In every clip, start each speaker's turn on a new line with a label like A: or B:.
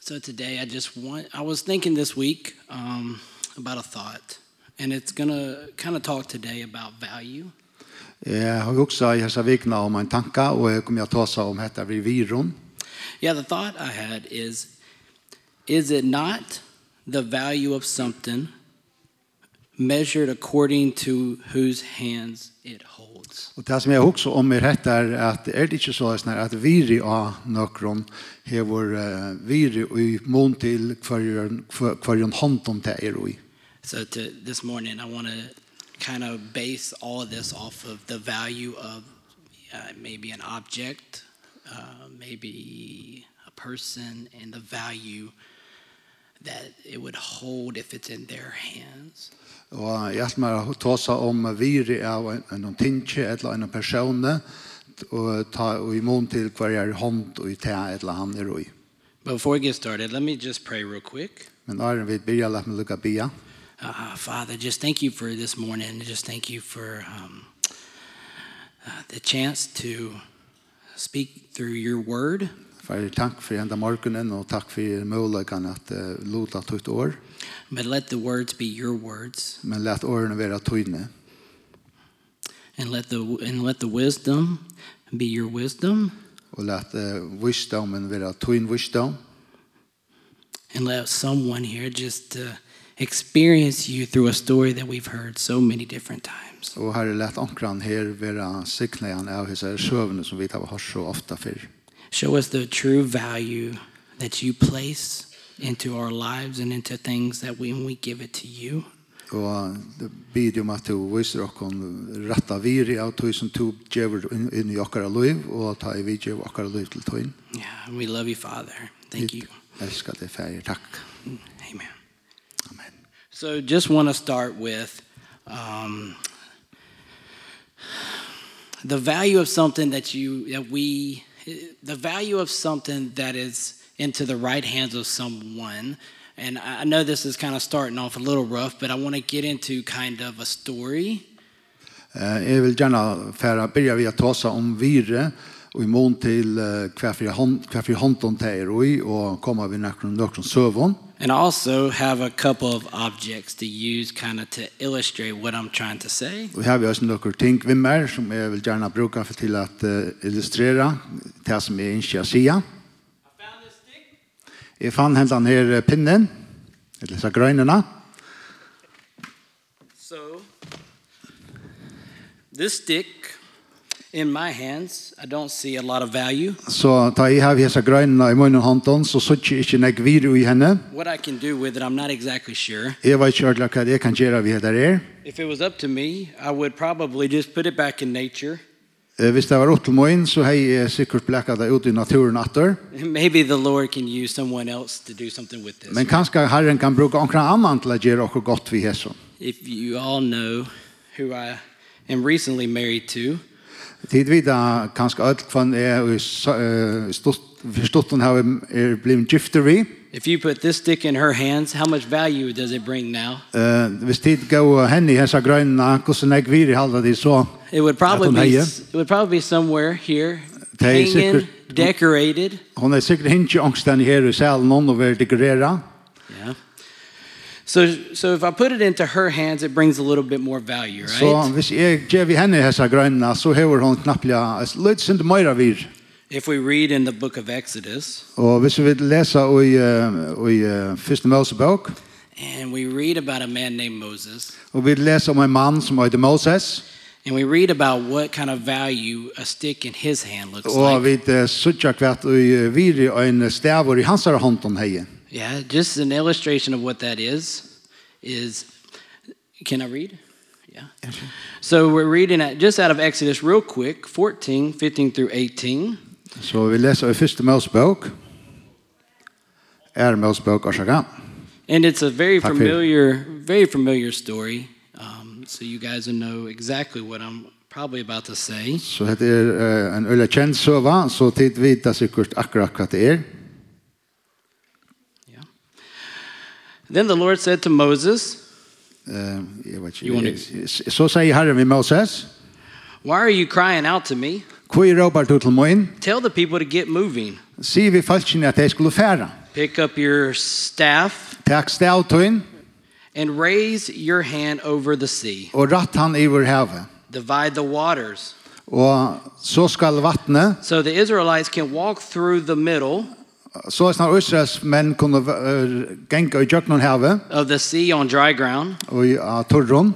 A: So today I just want, I was thinking this week um, about a thought, and it's going to kind of talk today about value.
B: Jag Eh, har också i hessa vikna om en tanke och jag kommer att ta sig om detta vid viron.
A: Yeah, the thought I had is is it not the value of something measured according to whose hands it holds?
B: Och det som jag också om är detta är att är det inte så här att viri av någon har vår eh, viri och i mån till kvarjon hand om det är i.
A: So to this morning I want to kind of base all of this off of the value of uh, maybe an object, uh, maybe a person and the value that it would hold if it's in their hands.
B: Og jeg skal bare ta seg om viri av en, en tinge eller en person og ta og i mån til kvarjon hand og i det eller han er i.
A: But before we get started, let me just pray real quick.
B: Men Aron vi byrja, lagt meg lukka bia.
A: Uh, Father, just thank you for this morning. and Just thank you for um, uh, the chance to speak through your word.
B: Fær takk for enda morgenen og takk for muligheten at uh, lota tutt år.
A: But let the words be your words,
B: Men let årene være tøyne.
A: and let the and let the wisdom be your wisdom,
B: Og let uh, visdomen være tøyn visdom.
A: and let someone here just uh, experience you through a story that we've heard so many different times.
B: Og herre let ankran her være sikneen av hese søvne som vi tar har så ofte før.
A: Show us the true value that you place into our lives and into things that when we give it to you.
B: Og det bidr om at du viser okken retta viri av tøy som du gjør inn, inn i okkara liv og ta i vidje av okkara liv til tøyn.
A: Yeah, and we love you, Father. Thank you.
B: Elskar det feir. Takk.
A: Amen.
B: Amen.
A: So, just want to start with um, the value of something that you that we the value of something that is into the right hands of someone. And I I know this is kind of starting off a little rough, but I want to get into kind of a story.
B: Eh, jeg vil gjerne fære, begynne vi å ta seg om um vire, og i mån til eh, hva for hånd- hva for hånd om det er i, og komme vi noen noen søvn.
A: And I also have a couple of objects to use kind of to illustrate what I'm trying to say.
B: Og her har vi også noen ting vi mer, som jeg vil gjerne bruke for til å eh, illustrere det som jeg ikke sier.
A: I found this stick.
B: Jeg fann hentan her eh, pinnen, eller så grønene.
A: So, this stick in my hands, I don't see a lot of value.
B: Så ta i her hese grønene i munnen hånden, så så ikke ikke nek vire i henne.
A: What I can do with it, I'm not exactly sure.
B: Jeg vet ikke ordentlig hva jeg kan gjøre vi heter er.
A: If it was up to me, I would probably just put it back in nature.
B: Eh, Hvis det var åt til morgen, så har jeg sikkert blekket det ut i naturen etter.
A: Maybe the Lord can use someone else to do something with this.
B: Men kanskje Herren kan bruke omkring annan til å gjøre okkur godt vi hesson.
A: If you all know who I am recently married to,
B: Tid vida kanskje alt kvann er og i s- eh, stott- forstått hon har er blivit gifter vi.
A: if you put this stick in her hands, how much value does it bring now?
B: Eh, Hvis tid gå henne i hessa grønna, hvordan jeg vir i halda de så,
A: It would probably
B: don't know
A: be
B: yet.
A: it would probably be somewhere here,
B: They
A: hanging,
B: secret-
A: decorated.
B: hon er sikkert hinge ångsten her i salen hon og vil dekorera.
A: Yeah. So so if I put it into her hands, it brings a little bit more value, right?
B: Så hvis jeg gjev i henne i hessa grønna, så hever hon knapplega litt sind møyra vir.
A: if we read in the book of Exodus
B: Og hvis vi vil lesa i, eh, i eh, Fyrste Mosebok,
A: and we read about a man named Moses
B: og vi leser om en mann som heter Moses,
A: and we read about what kind of value a stick in his hand looks
B: Og
A: like.
B: vi eh, suttja kvart og viri og en stavur i hans hånd om hei.
A: Yeah, just an illustration of what that is is can I read? Yeah. So we're reading at, just out of Exodus real quick, 14, 15 through 18.
B: Så vi leser i første Mosebok. Er Mosebok orsaka.
A: And it's a very
B: Takk for-
A: familiar, very familiar story. Um, so you guys will know exactly what I'm probably about to say.
B: Så dette er eh, en øyla kjent søva, så tid vita sikkert akkurat hva det er.
A: Then the Lord said to Moses,
B: Eh, Jeg vet
A: You wanna-
B: ikke. Så sier Herren vi Moses,
A: Why are you crying out to me?
B: Hvor råper du til morgen?
A: Tell the people to get moving.
B: Sier vi falskene at jeg skulle fære.
A: Pick up your staff
B: Takk stavtøyen
A: and raise your hand over the sea.
B: og ratt han i vår havet.
A: Divide the waters.
B: Og så skal vattnet,
A: So the Israelites can walk through the middle
B: så er snart Øsres menn kunne uh, genka i Jøknon havet
A: of the sea on dry ground.
B: og i uh, Torron.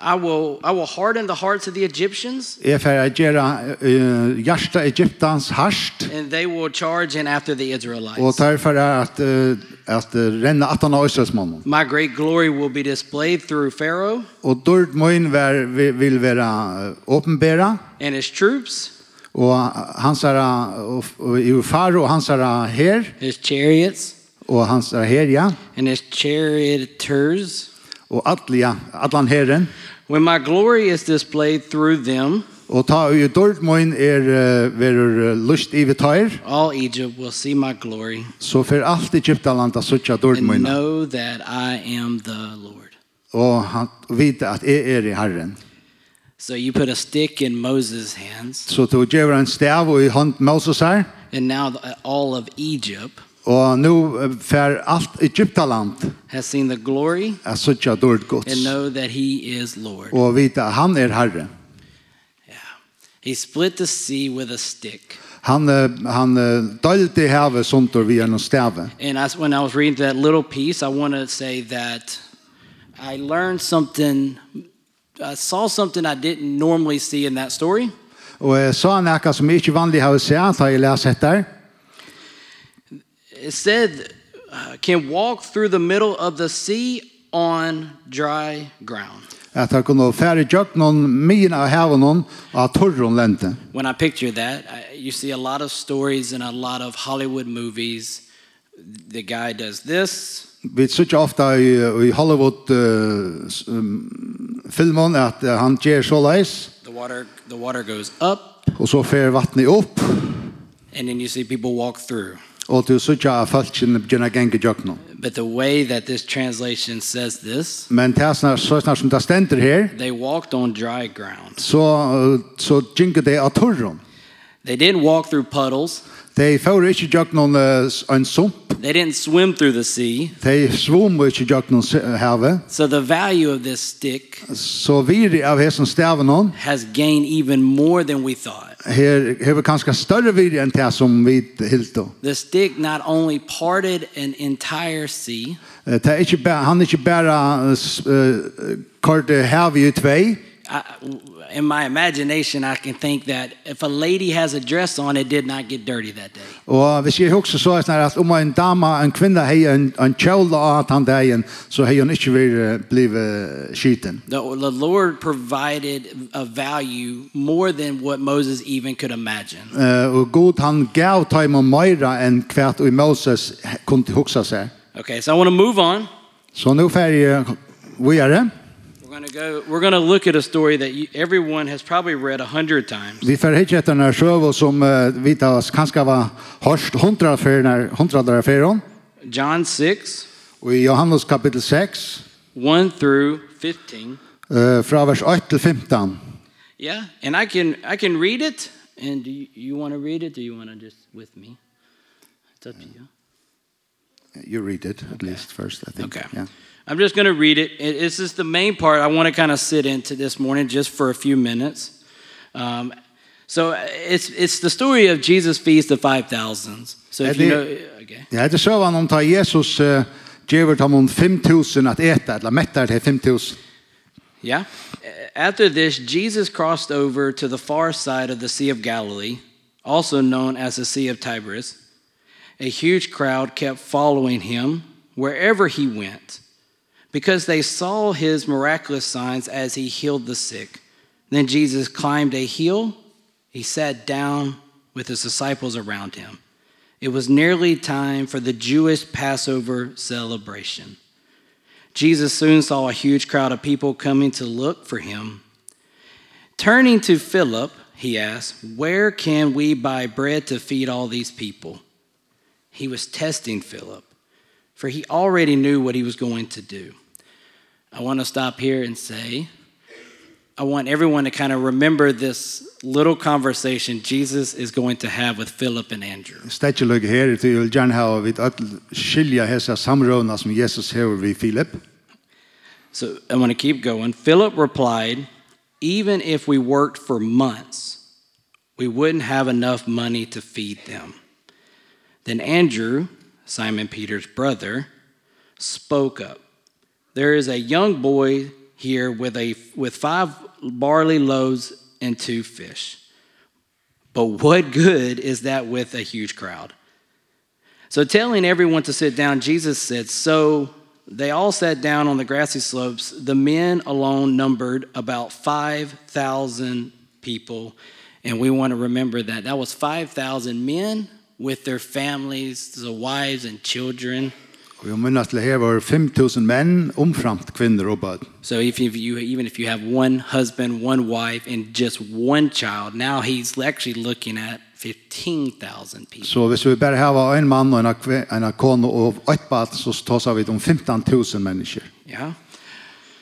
A: I will I will harden the hearts of the Egyptians
B: Jeg fer å gjøre uh, hjertet Egyptans harsht
A: and they will charge in after the
B: og
A: Israelites.
B: tar for at, uh, at uh, renne at han av Øsres mannen.
A: My great glory will be displayed through Pharaoh
B: Og dørt møyen ver, vi- vil være uh, åpenbæra
A: and his troops,
B: og hans er uh, og- og i faro og hans er uh, her
A: his chariots,
B: og hans er her ja
A: and his charioteers.
B: og atlia atlan herren
A: When my glory is displayed through them,
B: og ta og dørt møyen er uh, verur uh, lust i vitær
A: all Egypt will see my glory
B: så fer alt Egyptaland at søtja dørt
A: and
B: møyen
A: know that I am the Lord.
B: og han vite at jeg er i Herren.
A: So you put a stick in Moses' hands,
B: Så du gjør en stav og i hånd Moses her,
A: and now the- all of Egypt
B: og nå eh, fer alt Egyptaland
A: has seen the glory
B: at søtja dørt
A: and
B: gods
A: know that he is Lord.
B: og vite at han er Herre.
A: He split the sea with a stick.
B: Han, eh, han eh, dølte havet sånt og vi er noen stave.
A: And I, when I was reading that little piece, I want to say that I learned something, I saw something I didn't normally see in that story.
B: Og jeg sa noe som jeg ikke vanlig har sett, har jeg lest etter.
A: It said, uh, can walk through the middle of the sea on dry ground.
B: At han kunne fære jøk noen myen av havet noen av torren lente.
A: When I picture that, I, you see a lot of stories and a lot of Hollywood movies. The guy does this,
B: Vi ser ikke ofte i, i eh, Hollywood-filmen at mm, eh, han gjør så leis,
A: the water, the water goes up,
B: og så fer vattnet opp,
A: and then you see people walk through.
B: og du ser ikke at falskene begynner å gjenge jøk noen.
A: But the way that this translation says this,
B: Men det er snart, så snart som det stender her,
A: They walked on dry ground.
B: så, eh, så gjenge det av torren.
A: They didn't walk through puddles.
B: De får ikke jøk noen eh, s- en sump,
A: They didn't swim through the sea.
B: de svommer ikke jøk noen s- havet,
A: So the value of this stick
B: så viri av hessen staven noen,
A: has gained even more than we thought.
B: her hever kanskje større viri enn det som vi hildo.
A: The stick not only parted an entire sea,
B: Eh, Det er ikke bare, han er ikke bare uh, kort havet i tvei,
A: I, in my imagination, I can think that if a lady has a dress on, it did not get dirty that day.
B: og hvis jeg husker så er det sånn at om en dama, en kvinne, hei en, en kjøle av han dagen, så hei hun ikke vil eh, blive skiten.
A: The, the Lord provided a value more than what Moses even could imagine.
B: Eh, og god han gav taim og meira enn kvært og Moses kunne huksa seg.
A: Okay, so I want to move on.
B: Så nå fer jeg videre.
A: We're going to go we're going to look at a story that you, everyone has probably read a hundred times.
B: Vi fer hitje etter denne sjøve som uh, vi tar oss kanskje var hørst hundra affærer om.
A: John 6,
B: Og i Johannes kapittel 6,
A: 1 through 15.
B: eh, fra vers 8 til 15.
A: Yeah, and I can I can read it and do you, you want to read it? Do you want to just with me? It's up to you.
B: You read it at least first, I think.
A: Okay.
B: Yeah.
A: I'm just going to read it. It- This is the main part I want to kind of sit into this morning just for a few minutes. Um, so it's it's the story of Jesus feeds the 5000s. So if
B: Eddie-
A: you know okay.
B: Det heter søvann om ta Jesus uh, gjever dem om 5.000 at eta, eller mettar til 5.000.
A: Yeah. After this, Jesus crossed over to the far side of the Sea of Galilee, also known as the Sea of Tiberias. A huge crowd kept following him wherever he went because they saw his miraculous signs as he healed the sick. Then Jesus climbed a hill. He sat down with his disciples around him. It was nearly time for the Jewish Passover celebration. Jesus soon saw a huge crowd of people coming to look for him. Turning to Philip, he asked, Where can we buy bread to feed all these people? He was testing Philip, for he already knew what he was going to do. I want to stop here and say I want everyone to kind of remember this little conversation Jesus is going to have with Philip and Andrew.
B: Stedgeløg her til vil gjerne ha vidt ødel skilja hessa samråna som Jesus hever vi Filip.
A: So I want to keep going. Philip replied, Even if we worked for months, we wouldn't have enough money to feed them. Then Andrew, Simon Peter's brother, spoke up. There is a young boy here with, a, with five barley loaves and two fish. But what good is that with a huge crowd? So, telling everyone to sit down, Jesus said, So they all sat down on the grassy slopes. The men alone numbered about 5,000 people. And we want to remember that. That was 5,000 men with their families, the wives and children.
B: Og jeg minnes til her var 5.000 menn omframt kvinner og bad.
A: So if if you even if you have one husband, one wife, and just one child, now he's actually looking at fifteen thousand people.
B: Så hvis vi bare har en mann og en, kve, en kone og et bad, så tas vi om 15.000 mennesker.
A: Yeah.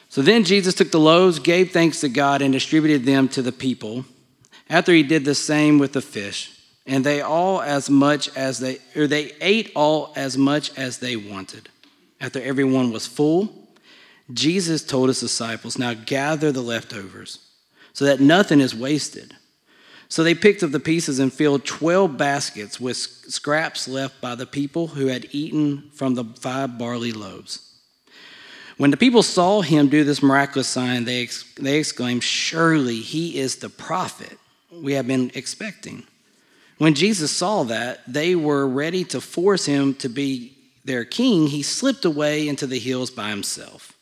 A: So then Jesus took the loaves, gave thanks to God, and distributed them to the people. After he did the same with the fish, and they all as much as they or they ate all as much as they wanted. After everyone was full, Jesus told his disciples, Now gather the leftovers so that nothing is wasted. So they picked up the pieces and filled 12 baskets with scraps left by the people who had eaten from the five barley loaves. When the people saw him do this miraculous sign, they, ex- they exclaimed, Surely he is the prophet we have been expecting. When Jesus saw that they were ready to force him to be their king, he slipped away into the hills by himself.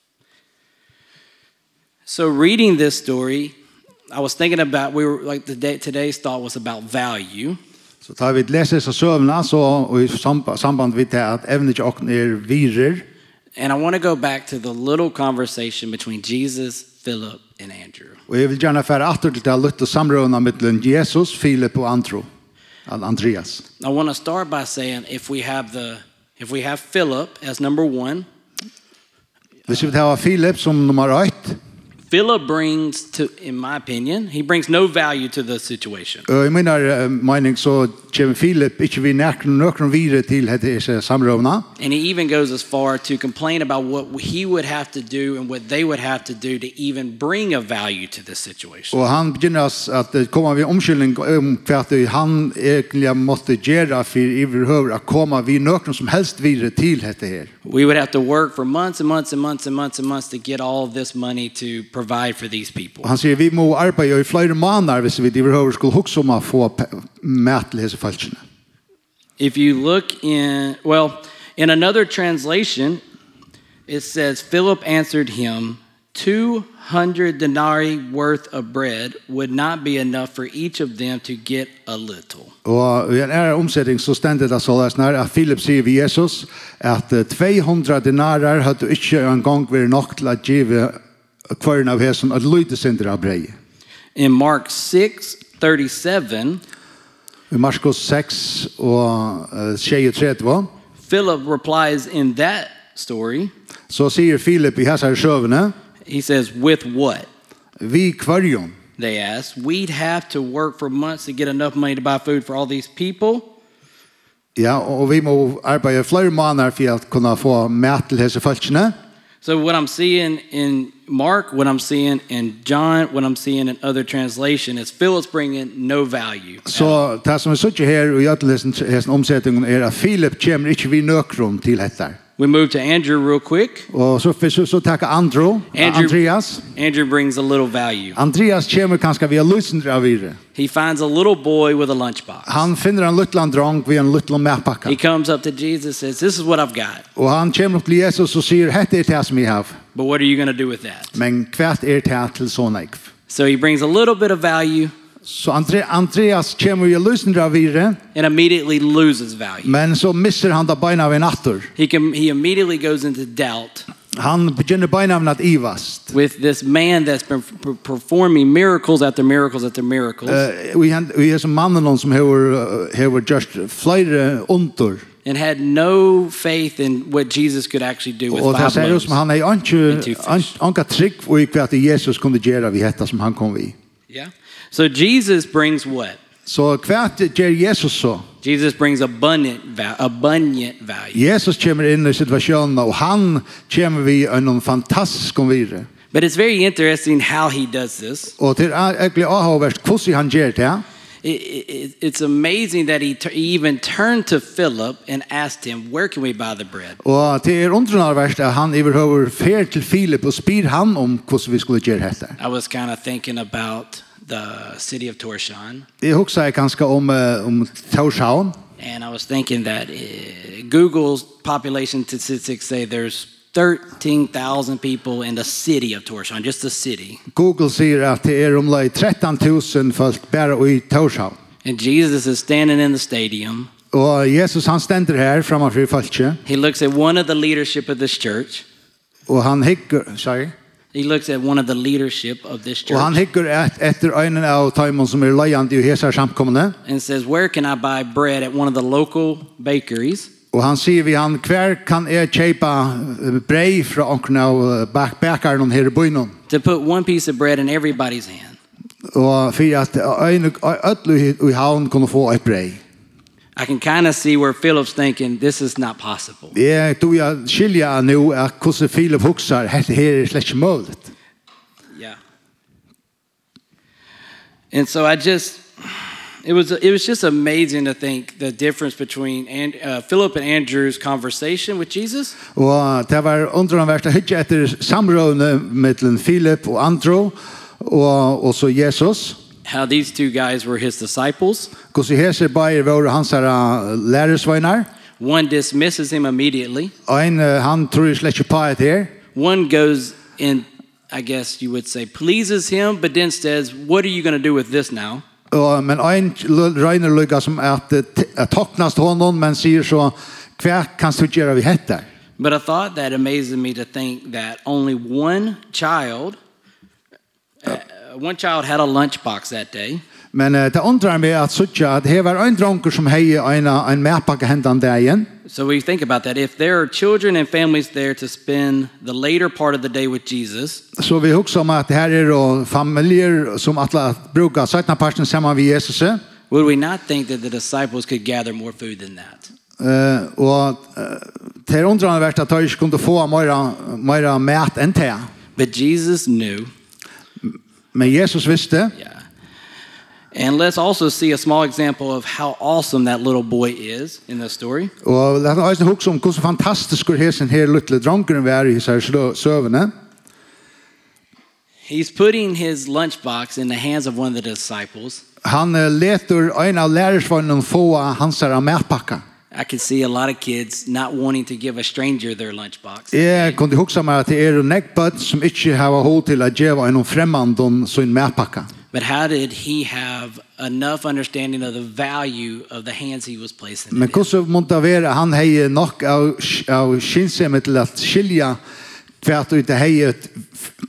A: So reading this story, I was thinking about we were like the day, today's thought was about value.
B: Så tar vi leser så søvna, så og i samb- samband vi til at evne ikke åkne er virer,
A: And I want to go back to the little conversation between Jesus, Philip, and Andrew.
B: og jeg vil gjerne fære atter til å lytte samråna mittelen Jesus, Filip og Andro, Al- Andreas.
A: I want to start by saying if we have the if we have Philip as number 1,
B: Hvis vi tar Filip som nummer 1,
A: Philip brings to in my opinion, he brings no value to the situation.
B: og i min eh, mening så kommer Filip ikke vi nærkene noen videre til disse samråna,
A: And he even goes as far to complain about what he would have to do and what they would have to do to even bring a value to this situation.
B: Og han begynner oss at det kommer vi omkyldning om hva at han egentlig måtte gjøre for iverhøver å komme vi noen som helst videre til dette her.
A: We would have to work for months and months and months and months and months to get all of this money to provide for these people.
B: Og han sier vi må arbeide i flere måneder hvis vi iverhøver skulle huske om å få p- mat til disse falskene.
A: If you look in, well, in another translation, it says, Philip answered him, 200 denarii worth of bread would not be enough for each of them to get a little.
B: Og i en ære omsetting så stendte det så løs nær at Philip sier vi Jesus at eh, 200 dinarer hadde ikke en gang vært nok til å give kvøren av hesen et lite sindre av brei.
A: In Mark 6 37,
B: I Marskos 6 og eh, 23
A: Philip replies in that story,
B: så sier Philip i hessar sjøvene
A: he says, With what?
B: Vi kvarjon.
A: They asked. We'd have to work for months to get enough money to buy food for all these people.
B: Ja, og vi må arbeide flere måneder for å kunne få mat til hese folkene.
A: So, what I'm seeing in Mark, what I'm seeing in John, what I'm seeing in other translation is Philip's bringing no value.
B: Så det som vi sitter er her og gjør til hese omsetningen er at Philip kommer ikke vi nøkron til dette.
A: We move to Andrew real quick.
B: Og så, så, så takker Andro,
A: Andrew-
B: Andreas.
A: Andrew brings a little value.
B: Andreas kommer kanskje via løsninger av videre.
A: He finds a little boy with a lunchbox.
B: Han finner en luttland drang via en luttland
A: He
B: matpakke.
A: comes up to Jesus says, This is what I've got,
B: Og han kommer opp til Jesus og sier, hette er det som jeg har.
A: but what are you going to do with that?
B: Men hvert er det til sånn jeg.
A: So he brings a little bit of value
B: Så Andre, Andreas kommer via løsninger av videre,
A: and immediately loses value.
B: men så misser han da beina ved natter.
A: He, can, he immediately goes into doubt
B: Han begynner beinamn at ivast.
A: with this man that's been per- performing miracles after miracles after miracles.
B: Eh, Uh, vi han vi är som mannen någon som har har gjort flera under.
A: and had no faith in what Jesus could actually do with
B: Og det
A: five
B: ser ut
A: loaves.
B: som han er
A: and two
B: ikke
A: fish.
B: anka trygg og ikke at Jesus kunne gjøre vi hette som han kom vi.
A: Yeah. So Jesus brings what?
B: Så hva gjør Jesus så?
A: Jesus brings abundant va- abundant value.
B: Jesus kommer inn i situasjonen, og han kommer vi en fantastisk omvire.
A: But it's very interesting how he does this.
B: Og til egentlig avhåverst, hvordan han er. gjør det,
A: It, it, it's amazing that he, tur- he even turned to Philip and asked him, "Where can we buy the bread?"
B: og til er undernarverst at han overhøver fer til Filip og spyr han om hvordan vi skulle gjøre dette.
A: I was kind of thinking about the city of Torshan,
B: Jeg husker jeg ganske om, eh, om Torshavn,
A: and I was thinking that eh, Google's population statistics say there's 13,000 people in the city of Torshan, just the city.
B: Google sier at det er omlai 13 000 folk bare i Torshavn.
A: And Jesus is standing in the stadium.
B: Og Jesus han stender her framfor folket,
A: He looks at one of the leadership of this church.
B: og han hikker, sorry,
A: He looks at one of the leadership of this
B: og han
A: church
B: hikker et, etter øynene av Taimon som er leiende i hesar samkommende,
A: and says, "Where can I buy bread at one of the local bakeries?"
B: og han sier vi han, hver kan jeg kjøpe eh, brei fra åkken av eh, bak bakeren her i byen?
A: to put one piece of bread in everybody's hand.
B: Og for at øyne, ødlu i havn kunne få et brei.
A: I can kind of see where Philip's thinking, this is not possible.
B: Jeg tror jeg skiljer nå at hvordan Filip hukser, dette her er slett ikke mulig.
A: Yeah. And so I just, it was, it was just amazing to think the difference between and, uh, Philip and Andrew's conversation with Jesus
B: Og det var underanverst å hytte etter samrådene mellom Filip og Andro, og, og så Jesus.
A: how these two guys were his disciples.
B: Hvordan hese bare våre hans her uh, lærersveinar.
A: One dismisses him immediately,
B: Ein, uh, han tror slett ikke på et her.
A: one goes and I guess you would say, pleases him, but then says, What are you going to do with this now?
B: Og, men ein l- røyner lykka som at eh, t- at toknast honom, men sier så, hva kan du gjøre vi hette?
A: But a thought that amazes me to think that only one child, uh, one child had a lunchbox that day,
B: Men uh, det undrar meg at suttja at her var ein dronker som hei ein, ein medpakke hendan dagen.
A: so we think about that. If there are children and families there to spend the later part of the day with Jesus,
B: Så vi husker om at her er og familier som atla at bruka 17 parten saman vi Jesus.
A: would we not think that the disciples could gather more food than that?
B: Uh, og uh, det er undrar meg at jeg ikke kunne få meira, meira mat enn det.
A: But Jesus knew.
B: Men Jesus visste,
A: Yeah. And let's also see a small example of how awesome that little boy is in this story.
B: og det er også hukse om hvordan fantastisk er hesen her lille dronkeren var er i seg søvende.
A: He's putting his lunchbox in the hands of one of the disciples.
B: Han eh, leter en av lærersvannen få hans her matpakka.
A: I can see a lot of kids not wanting to give a stranger their lunchbox.
B: Jeg kunne hukse meg at det er en nekkbøtt som ikke har hod til at gjøre en fremmanden sin matpakka.
A: But how did he have enough understanding of the value of the hands he was placing?
B: Men
A: it in?
B: hvordan måtte det være han hei nok av, av skinnsemme til at skilja hva du ikke hei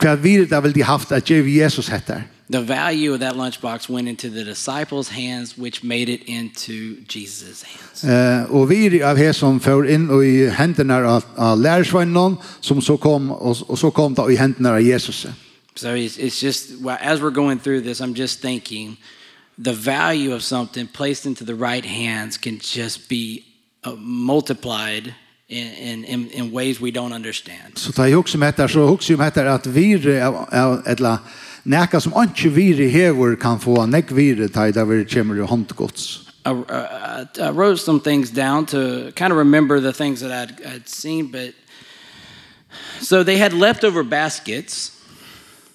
B: hva virda vil de haft at gjøre Jesus heter.
A: The value of that lunchbox went into the disciples' hands, which made it into Jesus' hands.
B: Eh, og vi av he som får inn i hendene av, av lærersvannen som så kom og, og så kom da i hendene av Jesus.
A: So it's, it's just, well, as we're going through this, I'm just thinking the value of something placed into the right hands can just be uh, multiplied in, in, in ways we don't understand.
B: Så ta jeg hukse om heter så hukse om heter at vire av, av etla Nekka som anki vire hever kan få nekk vire ta i da vi kommer i håndgods.
A: I, I, I wrote some things down to kind of remember the things that I'd, I'd seen, but so they had leftover baskets.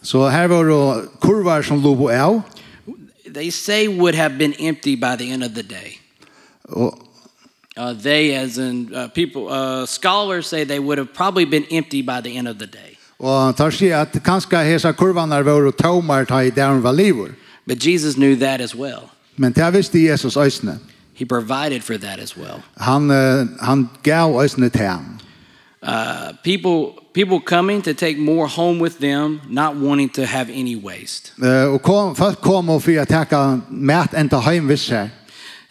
B: Så her var det kurvar som lå på av,
A: They say would have been empty by the end of the day.
B: og
A: Uh, they, as in uh, people, uh, scholars say they would have probably been empty by the end of the day.
B: Og tar sig at kanska hesa er kurvanar var tomar ta i der var livor.
A: But Jesus knew that as well.
B: Men det visste Jesus øysne.
A: He provided for that as well.
B: Han, eh, han gav øysne til ham.
A: Uh, people, people coming to take more home with them, not wanting to have any waste.
B: Eh, Og kom, folk kom og fyrir at teka mæt enda heim visser.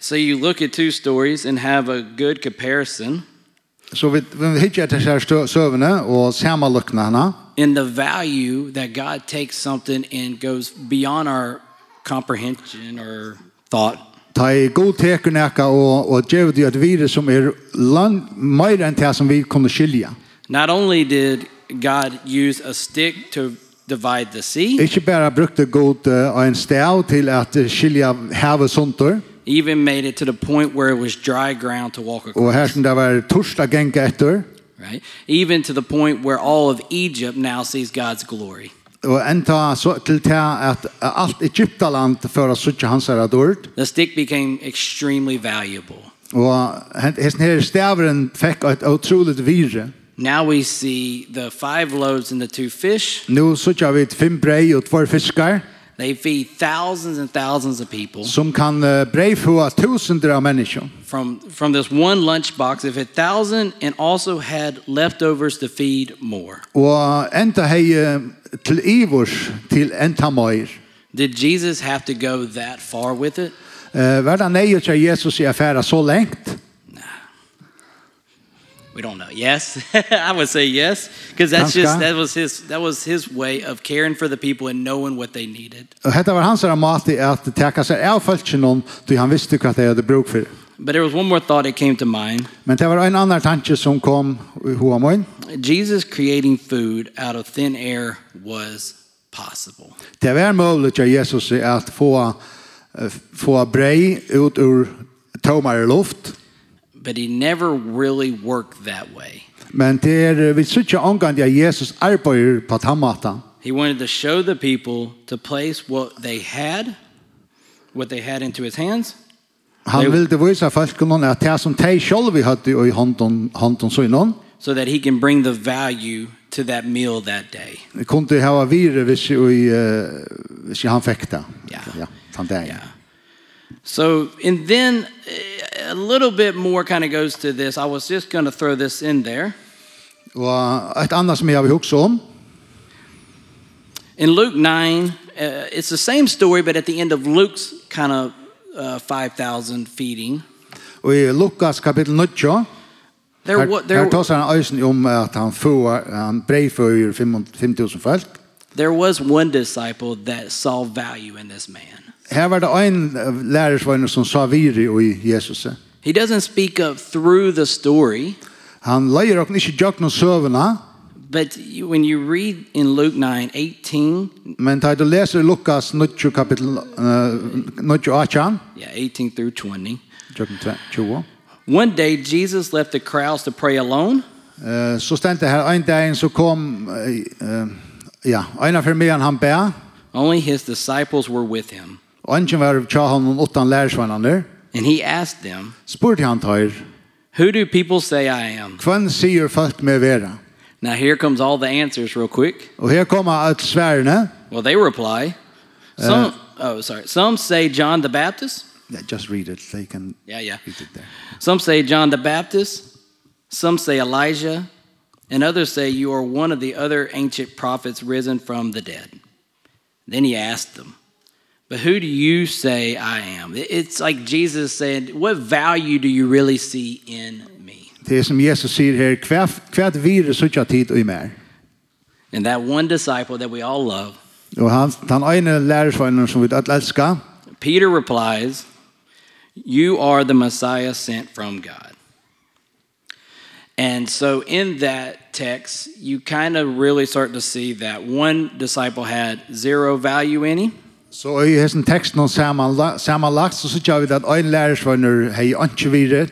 A: So you look at two stories and have a good comparison.
B: Så vi, vi hittar til her stø- søvne og samanlukna henne.
A: in the value that God takes something and goes beyond our comprehension or thought.
B: Ta i god teker neka og, og djev det et virus som er land, mer enn det som vi kunne skilja.
A: Not only did God use a stick to divide the sea,
B: Ikke bare brukte god uh, en stav til at eh, skilja havet sunter,
A: even made it to the point where it was dry ground to walk across,
B: og her som det var torsdag genga etter,
A: right? Even to the point where all of Egypt now sees God's glory.
B: og enda så til det at alt Egyptaland for å suttje hans her et ord,
A: The stick became extremely valuable.
B: og hen- hesten her stavren fikk et utroligt virre.
A: Now we see the five loaves and the two fish.
B: Nå suttje vi et fem brei og tvær fiskar,
A: They feed thousands and thousands of people.
B: som kan eh, breifua tusinder av mennesker.
A: from from this one lunchbox if a thousand and also had leftovers to feed more
B: Og enda hei eh, til ivors til enda møyr.
A: did jesus have to go that far with it
B: Uh, var det nei til Jesus i affæra så lengt?
A: we don't know yes i would say yes because that's just
B: Kanskje.
A: that was his that was his way of caring for the people and knowing what they needed
B: Og hetta var hans herra mat i at teka seg av falskje noen, då han visste hva det hadde bruk for.
A: but there was one more thought that came to mind
B: Men det var en annan tanke som kom i hoa møyn.
A: jesus creating food out of thin air was possible
B: Det var mulig til Jesus i at få, eh, få brei ut ur tomare luft.
A: but he never really worked that way
B: Men det er, eh, vi sier ikke omgang at Jesus arbeider på tammata.
A: He wanted to show the people to place what they had, what they had into his hands,
B: Han
A: Nei.
B: ville vise folk noen at det som de selv hadde i hånden, hånden så innan,
A: so that he can bring the value to that meal that day.
B: kunne ha vire hvis, i, eh, hvis han fikk det.
A: Ja.
B: ja den dagen.
A: Yeah. So, and then eh, a little bit more kind of goes to this. I was just going to throw this in there.
B: Og et annet som jeg har hukket om,
A: In Luke 9, uh, it's the same story, but at the end of Luke's kind of uh, 5,000 feeding,
B: og i Lukas kapittel 9,
A: there,
B: her,
A: wa- there,
B: her tar han øysen om at han, får, eh, han breiføyer 5000 folk.
A: there was one disciple that saw value in this man.
B: Her var det en eh, lærersvøyne som sa vire i Jesus.
A: He doesn't speak up through the story,
B: Han leier okken ikke jøk noen søvende,
A: but you, when you read in Luke 9 18,
B: men da du leser Lukas 9, kapittel eh, 9, 18,
A: yeah, 18 through 20,
B: Jøkken 20.
A: one day Jesus left the crowds to pray alone.
B: Eh, Så stendte det her, en dag så kom, eh, eh, ja, en av firmaen han bæ,
A: Only his disciples were with him.
B: og en som var tja honom åttan lærersvannene,
A: And he asked them,
B: spurte han tøyr,
A: Who do people say I am?
B: hvem sier folk med vera?
A: Now, here comes all the answers, real quick.
B: Og her kommer alt sværene,
A: Well, they reply, Some, oh, sorry, some say John the Baptist.
B: yeah, just read it, they can
A: Yeah, yeah.
B: read it there.
A: Some say John the Baptist, some say Elijah, and others say you are one of the other ancient prophets risen from the dead. Then he asked them, But who do you say I am? It- It's like Jesus said, What value do you really see in me?
B: Det er som Jesus sier her, hva, hva virus suttja tid og i mer?
A: And that one disciple that we all love,
B: Og han, den ene lærersvannene som vi alle elsker,
A: Peter replies, You are the Messiah sent from God. And so in that text, you kind of really start to see that one disciple had zero value in him,
B: så er i hessen teksten og samanla- samanlagt, så suttja vi at en lærersvannene hei ikke vire,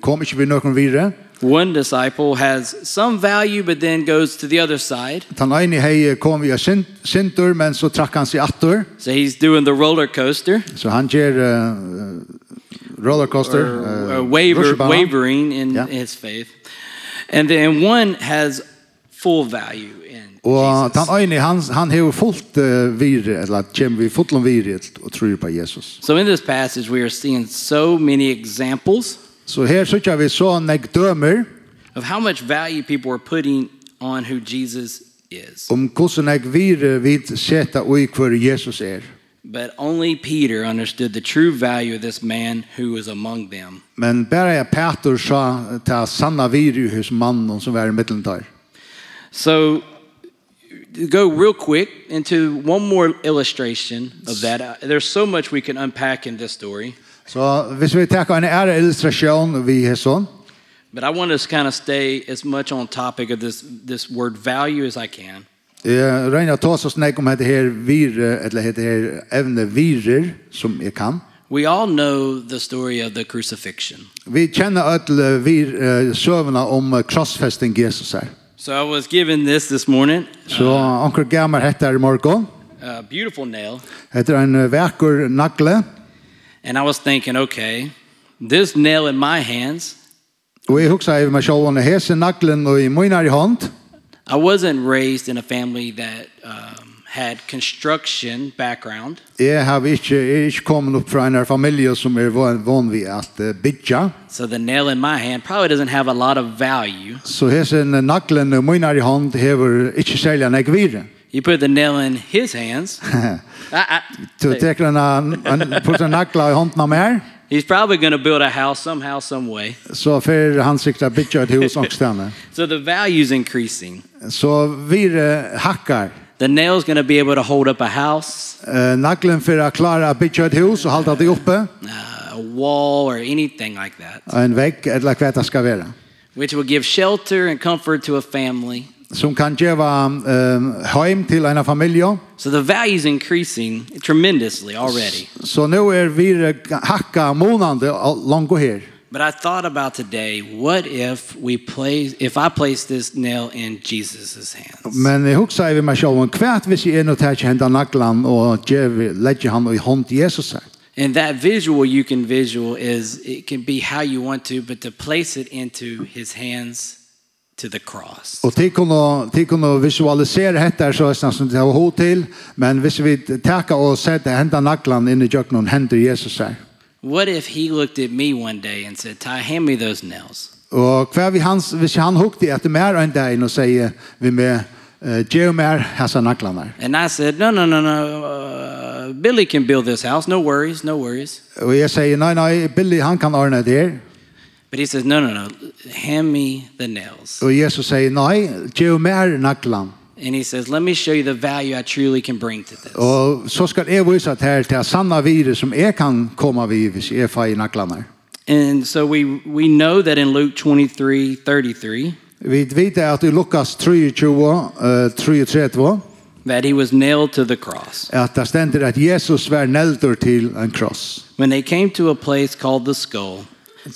B: kom ikke vi noen vire,
A: one disciple has some value, but then goes to the other side.
B: Tan eini hei kom vi av sintur, men så trakk han seg attur.
A: So he's doing the roller coaster,
B: Så han gjør uh, rollercoaster.
A: or,
B: eh,
A: or Uh, waver,
B: rutschbana.
A: wavering in
B: Yeah.
A: his faith. And then one has full value in
B: Og
A: Jesus.
B: tan eini, han, han hever fullt uh, vire, eller kjem vi fullt om vire og tror på Jesus.
A: So in this passage, we are seeing so many examples
B: Så her sykja vi så nek dømer
A: of how much value people are putting on who Jesus is.
B: om hvordan nek vire vi seta ui hver Jesus er.
A: But only Peter understood the true value of this man who was among them.
B: Men bara jag Peter sa ta sanna viru hos mannen som var i mitten där.
A: So to go real quick into one more illustration of that. Uh, There's so much we can unpack in this story,
B: Så hvis vi tar en ära illustration vi har sån.
A: but I want to kind of stay as much on topic of this this word value as I can.
B: Eh Reina tar så snägg om det här vir eller det här ävne virer som jag kan.
A: We all know the story of the crucifixion.
B: Vi kjenner öll vir eh, sövna om eh, krossfästen Jesus här.
A: So I was given this this morning,
B: Så onkel Gamar heter i morgon.
A: a beautiful nail,
B: Heter en eh, vacker nagle.
A: and I was thinking, okay, this nail in my hands,
B: Och jag huxar över mig själv när hesen naglen och i mina i hand.
A: I wasn't raised in a family that um, had construction background.
B: Jeg har ikke, jeg er ikke kommet opp fra en familie som er van, van vid at eh, bygja.
A: So the nail in my hand probably doesn't have a lot of value.
B: Så eh, hesen naglen og mina i hand hever ikke særlig enn jeg vire.
A: You put the nail in his hands. I, I,
B: Så teker en, en, putter en nagla i hånden av mer,
A: he's probably going to build a house somehow, some way.
B: så fer han sikta bygja et hus ångstene.
A: So the value's increasing.
B: Så eh, vire hakkar.
A: The nail's going to be able to hold up a house,
B: Eh, naglen for å klare å bygja et hus og halda det oppe,
A: uh, a wall, or anything like that,
B: en vegg eller hva det skal være.
A: which will give shelter and comfort to a family.
B: Som kan gjeva um, heim til en familie.
A: So the value's increasing tremendously already.
B: Så nå er vire hakka månande langt her.
A: But I thought about today, what if we place if I place this nail in Jesus' hands?
B: Men jeg husker jeg ved meg selv om hvert hvis jeg er nødt til å hente naklan og djeve- legge han i hånd til Jesus her.
A: And that visual you can visual is it can be how you want to, but to place it into his hands to the cross.
B: Og til kunne, til kunne visualisere dette her, så er det nesten til å ha hod til, men hvis vi takker og setter hente naklan inn i jøkken og henter Jesus her.
A: What if he looked at me one day and said, Ty, hand me those nails.
B: Og hver vi hans, hvis han hukte etter mer enn deg og sier vi med uh, djeve mer hessa naklan her.
A: And I said, No, no, no, no. Uh, Billy can build this house. No worries, no worries.
B: Og jeg sier, nei, nei, Billy han kan ordne det her.
A: But he says, No, no, no. Hand me the nails.
B: Og Jesus sier, nei, djeve mer naklan.
A: And he says, Let me show you the value I truly can bring to this.
B: Og så skal jeg vise at her til sanna virus som jeg kan komme vid hvis jeg får i naklene.
A: And so we we know that in Luke 23, 33,
B: Vi vet at i Lukas 23, eh, 33,
A: that he was nailed to the cross.
B: at det stender at Jesus var neldur til en kross.
A: When they came to a place called the skull,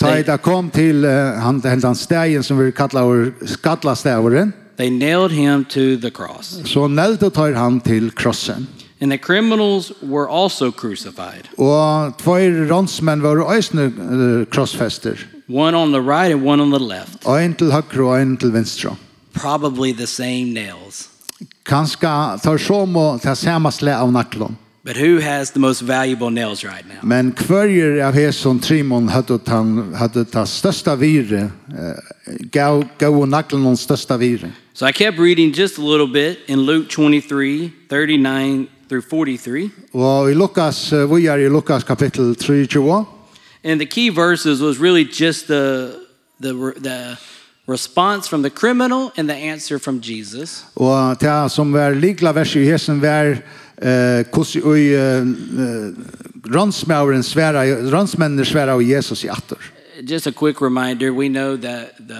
B: Ta i
A: they,
B: det kom til eh, han, hentan stegen som vi kallar skattlastaveren,
A: they nailed him to the cross.
B: så neldur tar han til krossen.
A: And the criminals were also crucified,
B: Og tvær rånsmenn var øysne eh, krossfester.
A: one on the right and one on the left,
B: Og en til høyre og en til venstre.
A: probably the same nails.
B: Kanskje tar som og tar samme slæ av naklene.
A: But who has the most valuable nails right now?
B: Men kvörjer av hesson Trimon hade han hade ta största vire gav gav och nacklen den största vire.
A: So I kept reading just a little bit in Luke 23, 39 through 43.
B: Och i Lukas eh, vi är i Lukas kapitel 3:20
A: And the key verses was really just the the the response from the criminal and the answer from Jesus.
B: och ta som var likla vers i hesson var eh kus i eh, eh, ransmauren svära ransmännen svära och Jesus i attor.
A: Just a quick reminder, we know that the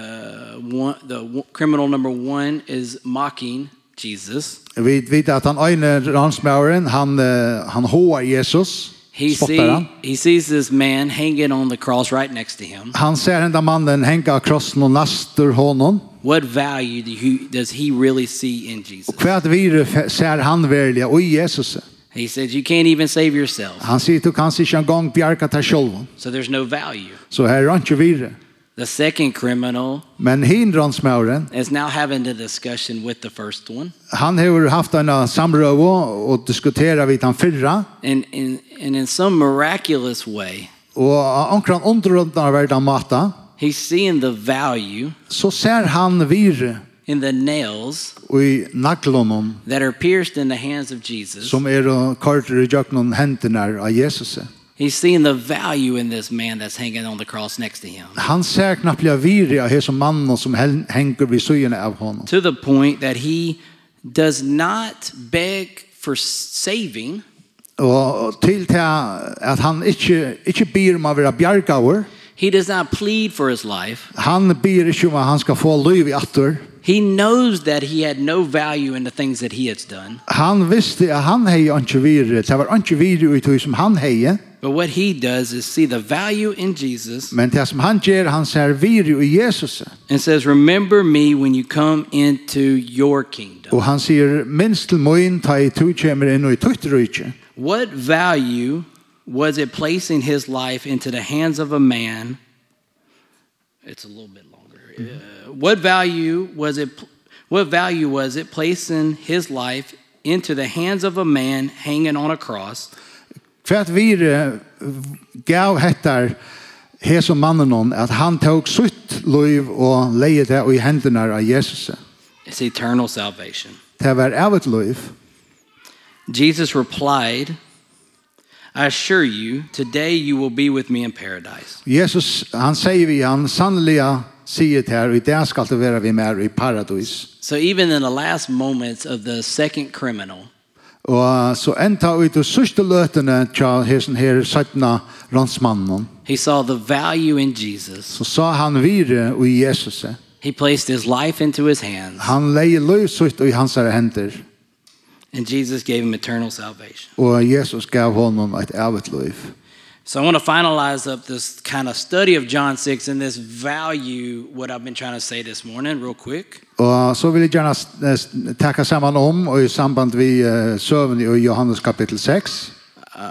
A: one the one, criminal number 1 is mocking Jesus.
B: Vi vet att han ene ransmauren han eh, han hoar Jesus.
A: He
B: spottar
A: see,
B: han.
A: he sees this man hanging on the cross right next to him.
B: Han ser den där mannen hänga krossen och nastur honom.
A: What value do you, does he really see in Jesus?
B: Kvært vire f- ser han verliga och Jesus.
A: He says you can't even save yourself.
B: Han sier du kan ikke engang bjerke deg selv.
A: So there's no value.
B: Så her er ikke vire.
A: The second criminal
B: Men hindransmauren,
A: is now having a discussion with the first one.
B: han har haft en samrøve og diskuterer vidt han fyrra.
A: And in, and in some miraculous way,
B: Og omkring underrundene av verden mata,
A: he's seeing the value
B: så ser han vire
A: in the nails
B: og i naglunum
A: that are pierced in the hands of Jesus.
B: som er og korter i jøknum hentenar av Jesus.
A: He's seeing the value in this man that's hanging on the cross next to him.
B: Han ser knappliga viri av hese mannen som hen- henger vid syene av honom.
A: To the point that he does not beg for saving,
B: Og til til at han ikke, ikke byr om å være bjergaver,
A: he does not plead for his life.
B: han byr ikke om at han skal få liv i atter.
A: He knows that he had no value in the things that he has done.
B: Han visste at han hei ikke viri, det var ikke viri ut i som han hei,
A: But what he does is see the value in Jesus
B: men det som han gjør, han ser viri i Jesus.
A: and says, Remember me when you come into your kingdom.
B: Og han sier, minst til moin, ta i to kjemer inn og i tutt rujtje.
A: What value was it placing his life into the hands of a man? It's a little bit longer. Uh, what value was it? What value was it placing his life into the hands of a man hanging on a cross
B: Kvært vire gav hettar hese mannen hon at han tok sutt liv og leie det i hendene av Jesus.
A: It's eternal salvation.
B: Det var evet liv.
A: Jesus replied, I assure you, today you will be with me in paradise.
B: Jesus, han sier vi han, sannliga sier det her, og i det skal det være vi mer i paradis.
A: So, even in the last moments of the second criminal,
B: Og eh, så enda ut og sørste løtene tja hesen her 17 rannsmannen,
A: he saw the value in Jesus.
B: så sa han vire og i Jesus.
A: He placed his life into his hands,
B: Han leie liv sutt i hans hender,
A: and Jesus gave him eternal salvation.
B: og Jesus gav honom et evet liv.
A: So, I want to finalize up this kind of study of John 6 and this value, what I've been trying to say this morning, real quick.
B: Og så vil jeg gjerne eh, takke sammen om, og i samband vi eh, søvn i Johannes kapittel 6.
A: Uh,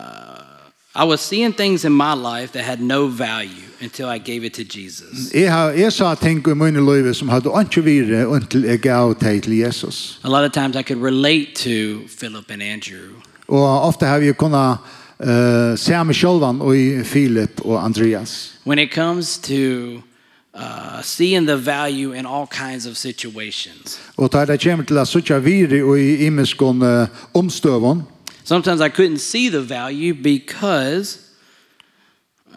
A: I was seeing things in my life that had no value until I gave it to Jesus.
B: Jeg, har, jeg sa ting i min liv som hadde ikke vire inntil jeg gav deg til Jesus.
A: A lot of times I could relate to Philip and Andrew.
B: Og ofte har vi kunnet uh, se meg selv og i Filip og Andreas.
A: when it comes to uh, seeing the value in all kinds of situations.
B: Og da det kommer til at suttje vire og i imenskån uh, omstøvån,
A: Sometimes I couldn't see the value because, uh,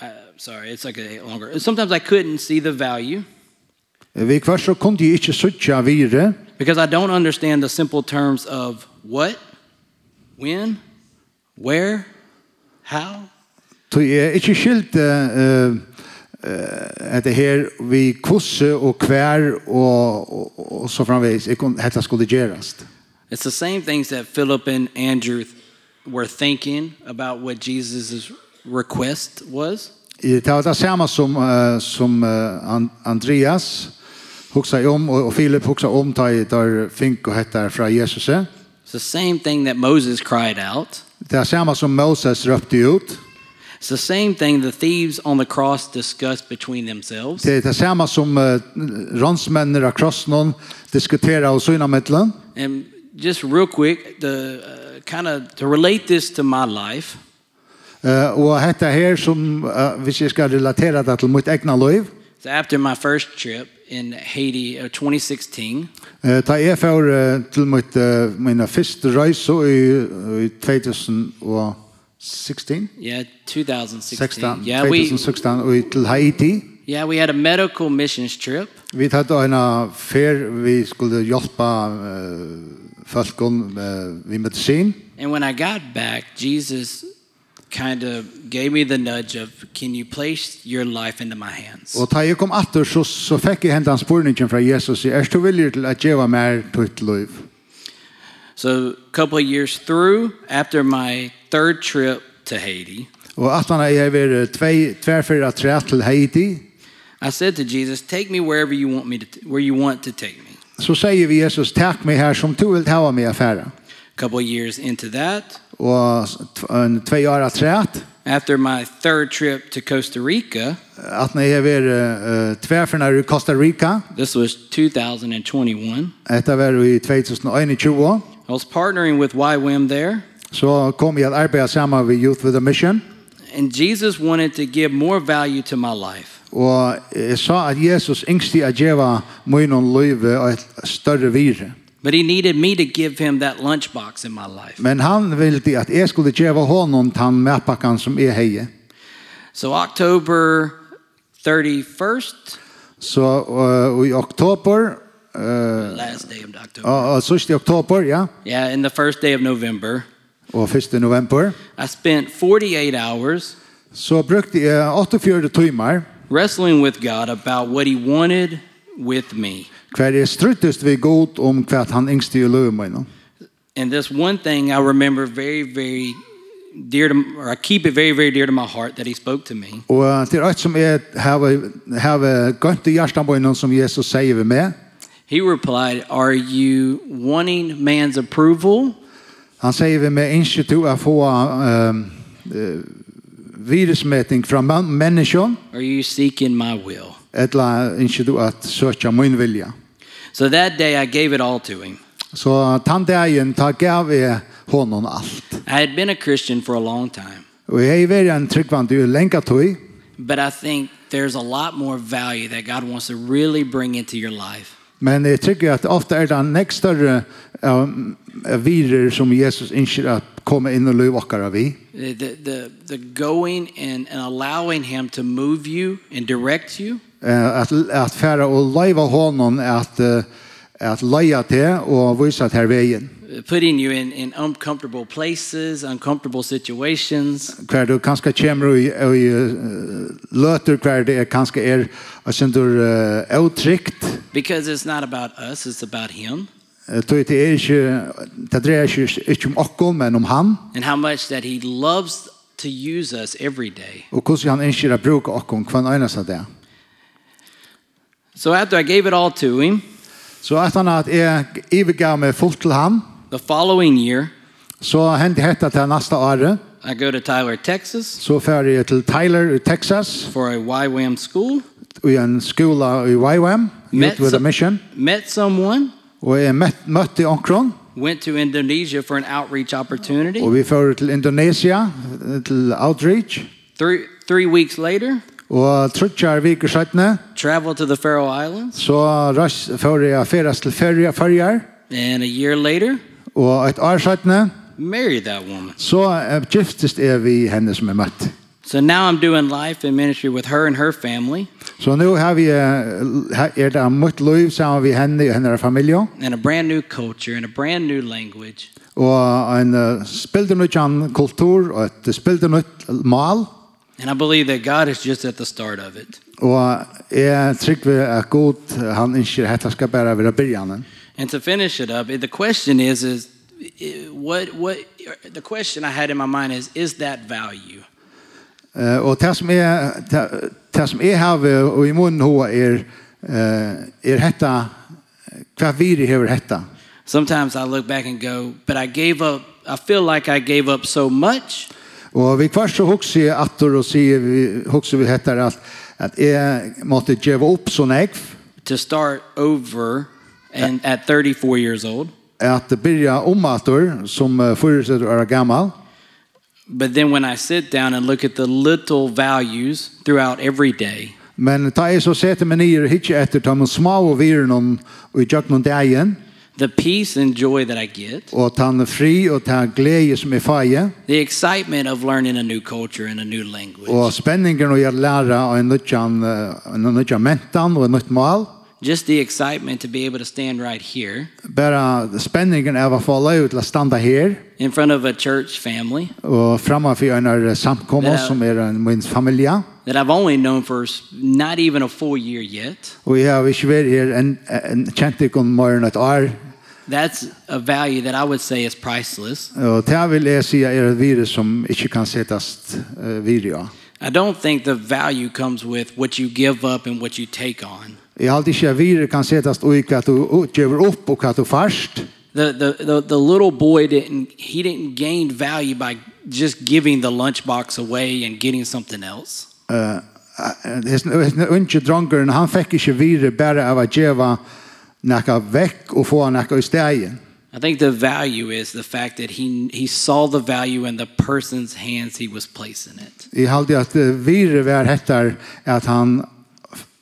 A: uh, sorry, it's like a longer. Sometimes I couldn't see the value
B: Eh, vi kvart så kunne jeg ikke suttje vire,
A: because I don't understand the simple terms of what, when, where, how.
B: Så jeg er ikke skilt uh, etter her vi kusse og kvær og, og, og så framveis. Jeg kunne hette skulle gjøres.
A: It's the same things that Philip and Andrew th- were thinking about what Jesus' request was.
B: Det var det samme som, uh, som uh, An Andreas hoksa om og, og Filip um hoksa om ta i der fink og hette fra Jesus. Det
A: It's the same thing that Moses cried out.
B: er det samme som Moses røpte ut.
A: It's the same thing the thieves on the cross discussed between themselves.
B: Det er det samme som uh, ransmennene av krossen diskuterer og syna mittelen.
A: And just real quick, the uh, kind of to relate this to my life,
B: Uh, og hette her som, uh, hvis jeg skal relatera det til mitt egna liv,
A: so after my first trip in Haiti uh, of 2016,
B: Eh, Ta jeg for til mitt, eh, mina første reise i, i 2016.
A: yeah, 2016,
B: 16,
A: yeah, we
B: 2016 og i- til Haiti.
A: yeah we had a medical missions trip,
B: Vi tatt en fer vi skulle hjelpe uh, folk uh, med medisin.
A: and when I got back, Jesus kind of gave me the nudge of, "Can you place your life into my hands?"
B: Og ta jeg kom atter så, så fikk jeg hentan spurningen fra Jesus. Er du villig til at gjøre mer ditt liv?
A: So a couple of years through, after my third trip to Haiti,
B: Og at han er vært tvei, tverfyrre tre til Haiti.
A: I said to Jesus, "Take me wherever you want me to, where you want to take me."
B: Så sier vi Jesus, takk meg her som du vil ta meg affæra.
A: A couple of years into that,
B: og tv- en tvei år at træt,
A: after my third trip to Costa Rica,
B: at når jeg var uh, tverferne i Costa Rica,
A: this was 2021.
B: etter var i 2021,
A: I was partnering with YWAM there,
B: så kom jeg at arbeide sammen med Youth with a Mission,
A: and Jesus wanted to give more value to my life.
B: Og jeg sa at Jesus yngste at djeva munnen løyve og et større vire.
A: But he needed me to give him that lunchbox in my life.
B: Men han ville at jeg skulle djeva honom tann medpakkan som jeg heie.
A: So October 31st,
B: Så øh, i oktober, øh,
A: last day of October.
B: og, og sørst i oktober, ja,
A: Yeah, in the first day of November,
B: og 1. november,
A: I spent 48 hours
B: så brukte jeg 48 timer
A: wrestling with God about what he wanted with me.
B: hver jeg struttest vi god om hva han yngste i løyve munnen.
A: And this one thing I remember very, very dear to, or I keep it very, very dear to my heart that he spoke to me.
B: Og til alt eh, som jeg har gønt i hjertet munnen som Jesus sier ved meg,
A: He replied, Are you wanting man's approval
B: Han sier vi med ikke to å få um, virusmeting fra men- menneskene,
A: or are you seeking my will?
B: eller ikke to at søke min vilja.
A: So that day I gave it all to him.
B: Så den dagen ta gav jeg honom er alt.
A: I had been a Christian for a long time,
B: Og jeg er har vært en tryggvand i lenge tog,
A: but I think there's a lot more value that God wants to really bring into your life.
B: men jeg tykker at ofte er det en nekst større um, virer som Jesus ønsker at komme inn og løp okkara vi.
A: The, the, the, the going and, and allowing him to move you and direct you
B: Eh, At, at fære og leiva honom at, eh, at leia til og vise til her veien.
A: putting you in, in uncomfortable places, uncomfortable situations,
B: hver du kanskje kommer i, i eh, løter hver det er kanskje er og sen du er uttrykt
A: because it's not about us, it's about Him,
B: tog det er ikke det dreier ikke, ikke om okken um men om han
A: and how much that He loves to use us every day.
B: og hvordan han ønsker å bruke okken hver eneste av det
A: So after I gave it all to Him,
B: så etter han at jeg ivergav meg fullt til han
A: the following year,
B: så hendte dette til neste året
A: I go to Tyler, Texas
B: så fer jeg til Tyler i Texas
A: for a YWAM school,
B: i en skole i YWAM Youth with a Mission
A: met someone,
B: og jeg møtt, møtte onkron
A: went to Indonesia for an outreach opportunity.
B: og vi fer til Indonesia eh, til Outreach
A: Three, three weeks later,
B: Og trutjar viker sættene,
A: traveled to the Faroe Islands,
B: så rass får jeg ferast til ferja ferjar,
A: and a year later,
B: og et år sættene,
A: married that woman.
B: så eh, giftist er vi henne som er møtt.
A: So now I'm doing life and ministry with her and her family
B: Så nå har vi, eh, her er det møtt liv sammen vi henne og henne familie,
A: in a brand new culture and a brand new language.
B: og en eh, spilder nytt an kultur, og et spilder nytt mal,
A: And I believe that God is just at the start of it.
B: og jeg trygg ved at god, eh, han ikke hette skal bare være byrjanen.
A: And to finish it up, the question is is eh, what what the question I had in my mind is is that value?
B: Eh, og det som er det, det som er her ved- og i munnen hoa er eh, er hetta hva vi hever hetta.
A: Sometimes I look back and go, but I gave up I feel like I gave up so much,
B: Og vi kvar så hugsi attor og sier vi hugsi vi hettar at at jeg måtte geva opp så negv
A: to start over and at 34 years old.
B: at byrja om attor som eh, fyrirsetter er gammal
A: But then when I sit down and look at the little values throughout every day,
B: men ta jeg så sete meg nyer hitje etter ta med små og viren og i jøkken dagen
A: the peace and joy that I get,
B: og ta en fri og ta glede som er feie
A: the excitement of learning a new culture and a new language,
B: Og spenningen og jeg lærer av en nødjan, en nødjan eh, mentan og en nødt mal.
A: just the excitement to be able to stand right here
B: Bare spenningen av å få lov til å standa her
A: in front of a church family
B: og fremme for en av samkommer
A: Ja.
B: som er en min familie.
A: that I've only known for s- not even a full year yet.
B: Og jeg har ikke vært her en, en kjent ikke om mer enn et år.
A: That's a value that I would say is priceless.
B: Og det vil jeg si er et virus som ikke kan settes uh, videre av.
A: I don't think the value comes with what you give up and what you take on.
B: Jeg har ikke at virus kan settes i hva du utgjøver opp og hva du først.
A: The, the, the, the little boy didn't, he didn't gain value by just giving the lunchbox away and getting something else.
B: Eh, hesten hesten er unge drongeren, han fikk ikke vire bare av å gjøre nekka vekk og få nekka i stegen.
A: I think the value is the fact that he he saw the value in the person's hands he was placing it.
B: Jeg halde at eh, vire var hettar at han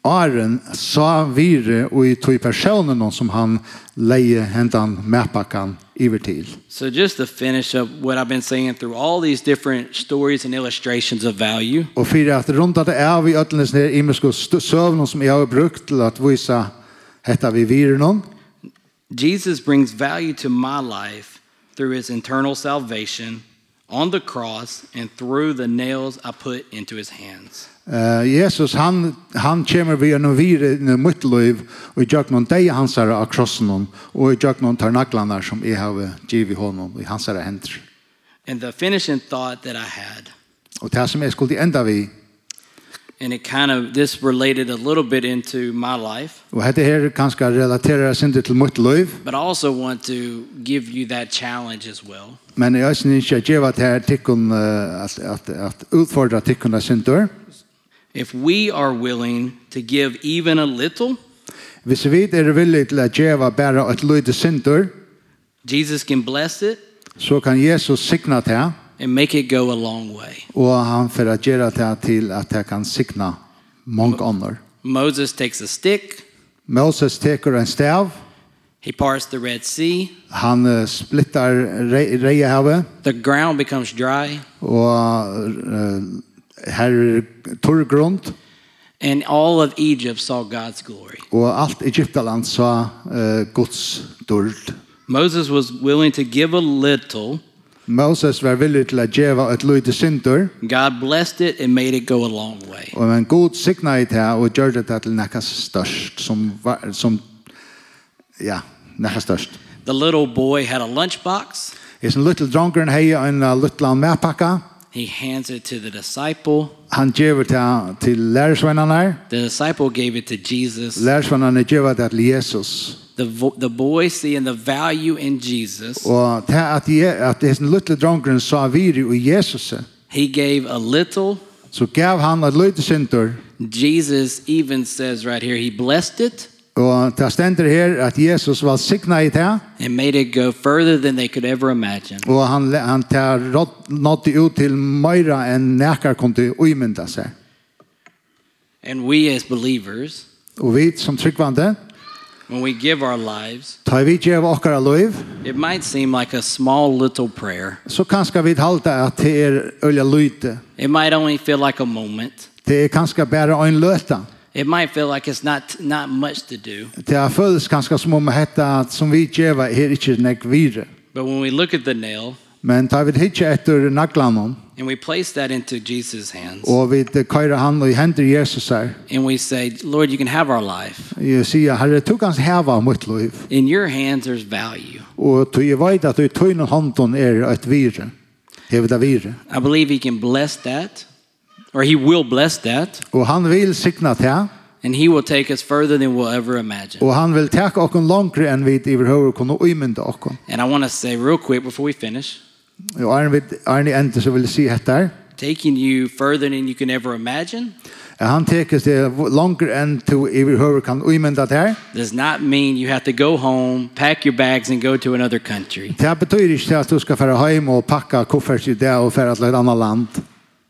B: Aren sa vire og i tog personen som han leie hentan medpakkan iver til.
A: So, just to finish up what I've been saying through all these different stories and illustrations of value,
B: Og fyrir at rundt at det er vi ødelnes nere imensko søvnen som jeg har brukt til at vise hetta vi vire noen.
A: Jesus brings value to my life through his internal salvation on the cross and through the nails I put into his hands.
B: Eh, Jesus han, han kommer vi en vire i mitt liv og i djøknon deg hans herre av krossen og i djøknon tar naglene som jeg har givet honom i hans herre hender.
A: And the finishing thought that I had,
B: Og det som jeg skulle enda vi,
A: and it kind of, this related a little bit into my life,
B: og dette her kanskje relaterer sin til mitt liv,
A: but I also want to give you that challenge as well.
B: Men jeg synes ikke at jeg var til tikkun, eh, at, at, at utfordra tikkun av synder.
A: If we are willing to give even a little,
B: Hvis vi er villige til at jeg var bare et lydig synder,
A: Jesus can bless it
B: så kan Jesus signa det,
A: and make it go a long way.
B: og han får at gjøre det til at han kan signa mange ånder.
A: Moses takes a stick,
B: Moses teker en stav,
A: he parts the Red Sea,
B: han eh, splittar re- reiehavet,
A: the ground becomes dry,
B: og uh, her er torr grund,
A: and all of Egypt saw God's glory.
B: og alt Egyptaland sa uh, Guds dård.
A: Moses was willing to give a little.
B: Moses var villig til at gjøre et lydig synder,
A: God blessed it and made it go a long way.
B: Og men god signa i det og gjør det til nekka størst, som, var, som ja, nekka størst.
A: The little boy had a lunchbox.
B: I sin lille drongeren hei en uh, lille medpakka,
A: He hands it to the disciple.
B: han gjør det til lærersvennerne,
A: The disciple gave it to Jesus.
B: lærersvennerne gjør det til Jesus.
A: The, vo- the boy seeing the value in Jesus,
B: Og det at, je, at i sin lille drongeren sa viri og Jesus,
A: he gave a little.
B: så gav han et lite synder,
A: Jesus even says right here, he blessed it
B: og det stender her at Jesus var signa i det,
A: and made it go further than they could ever imagine.
B: og han, han tar rått- nådde ut til Møyra enn nekker kunne uimynda seg.
A: And we as believers,
B: Og vi som tryggvande,
A: when we give our lives,
B: Ta vi gjev okkara liv,
A: it might seem like a small little prayer.
B: så kanskje vi halda at det er øyla lyte.
A: It might only feel like a moment.
B: Det er kanskje bare ein løta.
A: It might feel like it's not not much to do.
B: Det er føles kanskje som om hetta at som vi gjeva er ikkje nek vire.
A: But when we look at the nail
B: Men ta vi hitje etter naglanon,
A: and we place that into Jesus' hands
B: og vi køyra han og hender Jesus her.
A: and we say, Lord, you can have our life.
B: Jeg sier, herre, du kan heva mitt liv,
A: In your hands, there's value.
B: og du jeg veit at du i tøyne hånden er et vire. Hever det vire.
A: I believe he can bless that, or he will bless that,
B: Og han vil signa til,
A: and he will take us further than we'll ever imagine.
B: og han vil takke okken langere enn vi i hverhåret kunne uimynda okken.
A: And I want to say real quick before we finish,
B: Og Arne Ente så vil jeg si hette her,
A: taking you further than you can ever imagine
B: Ja, Han teker seg langer enn to overhøver kan umynda det her.
A: does not mean you have to go home, pack your bags, and go to another country.
B: Det betyr ikke at du skal fære hjem og pakka koffert i det og fære til et annet land.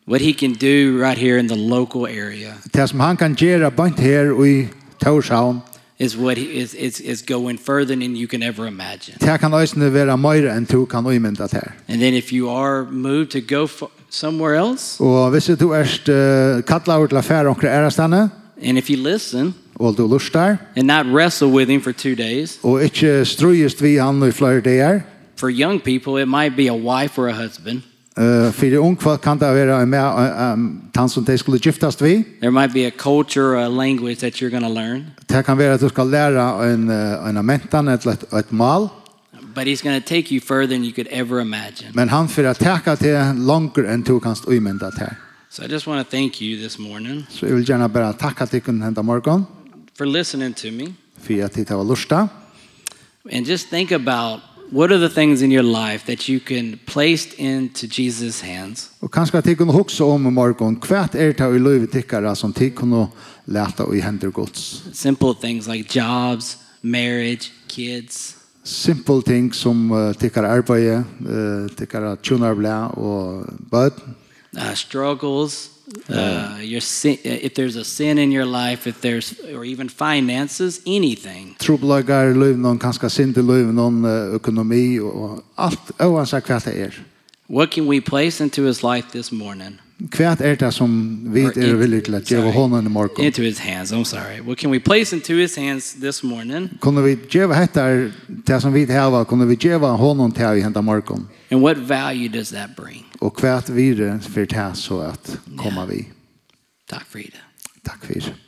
A: What he can do right here in the local area
B: Det som han kan gjøre bant her og i Torshavn,
A: is what he is, is, is going further than you can ever imagine.
B: det kan øsene være mer enn to kan umynda det her.
A: And then if you are moved to go f- somewhere else,
B: Og hvis du erst uh, kattler over til affære omkring ærestene,
A: and if you listen
B: og du lustar,
A: and not wrestle with him for two days,
B: og ikke strøyest vi han i flere dager,
A: for young people, it might be a wife or a husband.
B: uh, for det unge folk kan det være med uh, um, han som de skulle giftast vi,
A: There might be a culture or a language that you're going to learn,
B: det kan være at du skal lære en, uh, en mentan, et, et, et mal,
A: but he's going to take you further than you could ever imagine.
B: Men han fyrir at teka til langer enn du kanst uimynda til.
A: So I just want to thank you this morning
B: Så jeg vil gjerne bare takka til kun henda morgon
A: for listening to me.
B: fyrir at det var lusta.
A: And just think about what are the things in your life that you can place into Jesus' hands
B: Og kanskje at tikkun hugsa um om i morgon, hvert er det i løyve tikkara som tikkun leta i hender gods.
A: simple things like jobs, marriage, kids,
B: Simple ting som uh, tikkara arbeid, uh, tikkara tjunarblea eh, og bød,
A: uh, struggles, Uh, your sin, if there's a sin in your life, if there's, or even finances, anything,
B: Trobelagar i livet någon, kanskje sint i livet någon, eh, økonomi og, og alt, oansett hva det er.
A: what can we place into his life this morning?
B: Hva er det som vi
A: Or
B: er
A: in-
B: villige til å gjøre
A: sorry.
B: hånden i morgen?
A: Into his hands, I'm sorry. What can we place into his hands this morning?
B: Kunne vi gjøre dette det som vi har, kunne vi gjøre hånden til i hendet morgen?
A: And what value does that bring?
B: Og hva er det for det så at komme vi?
A: Takk for det.
B: Takk for det.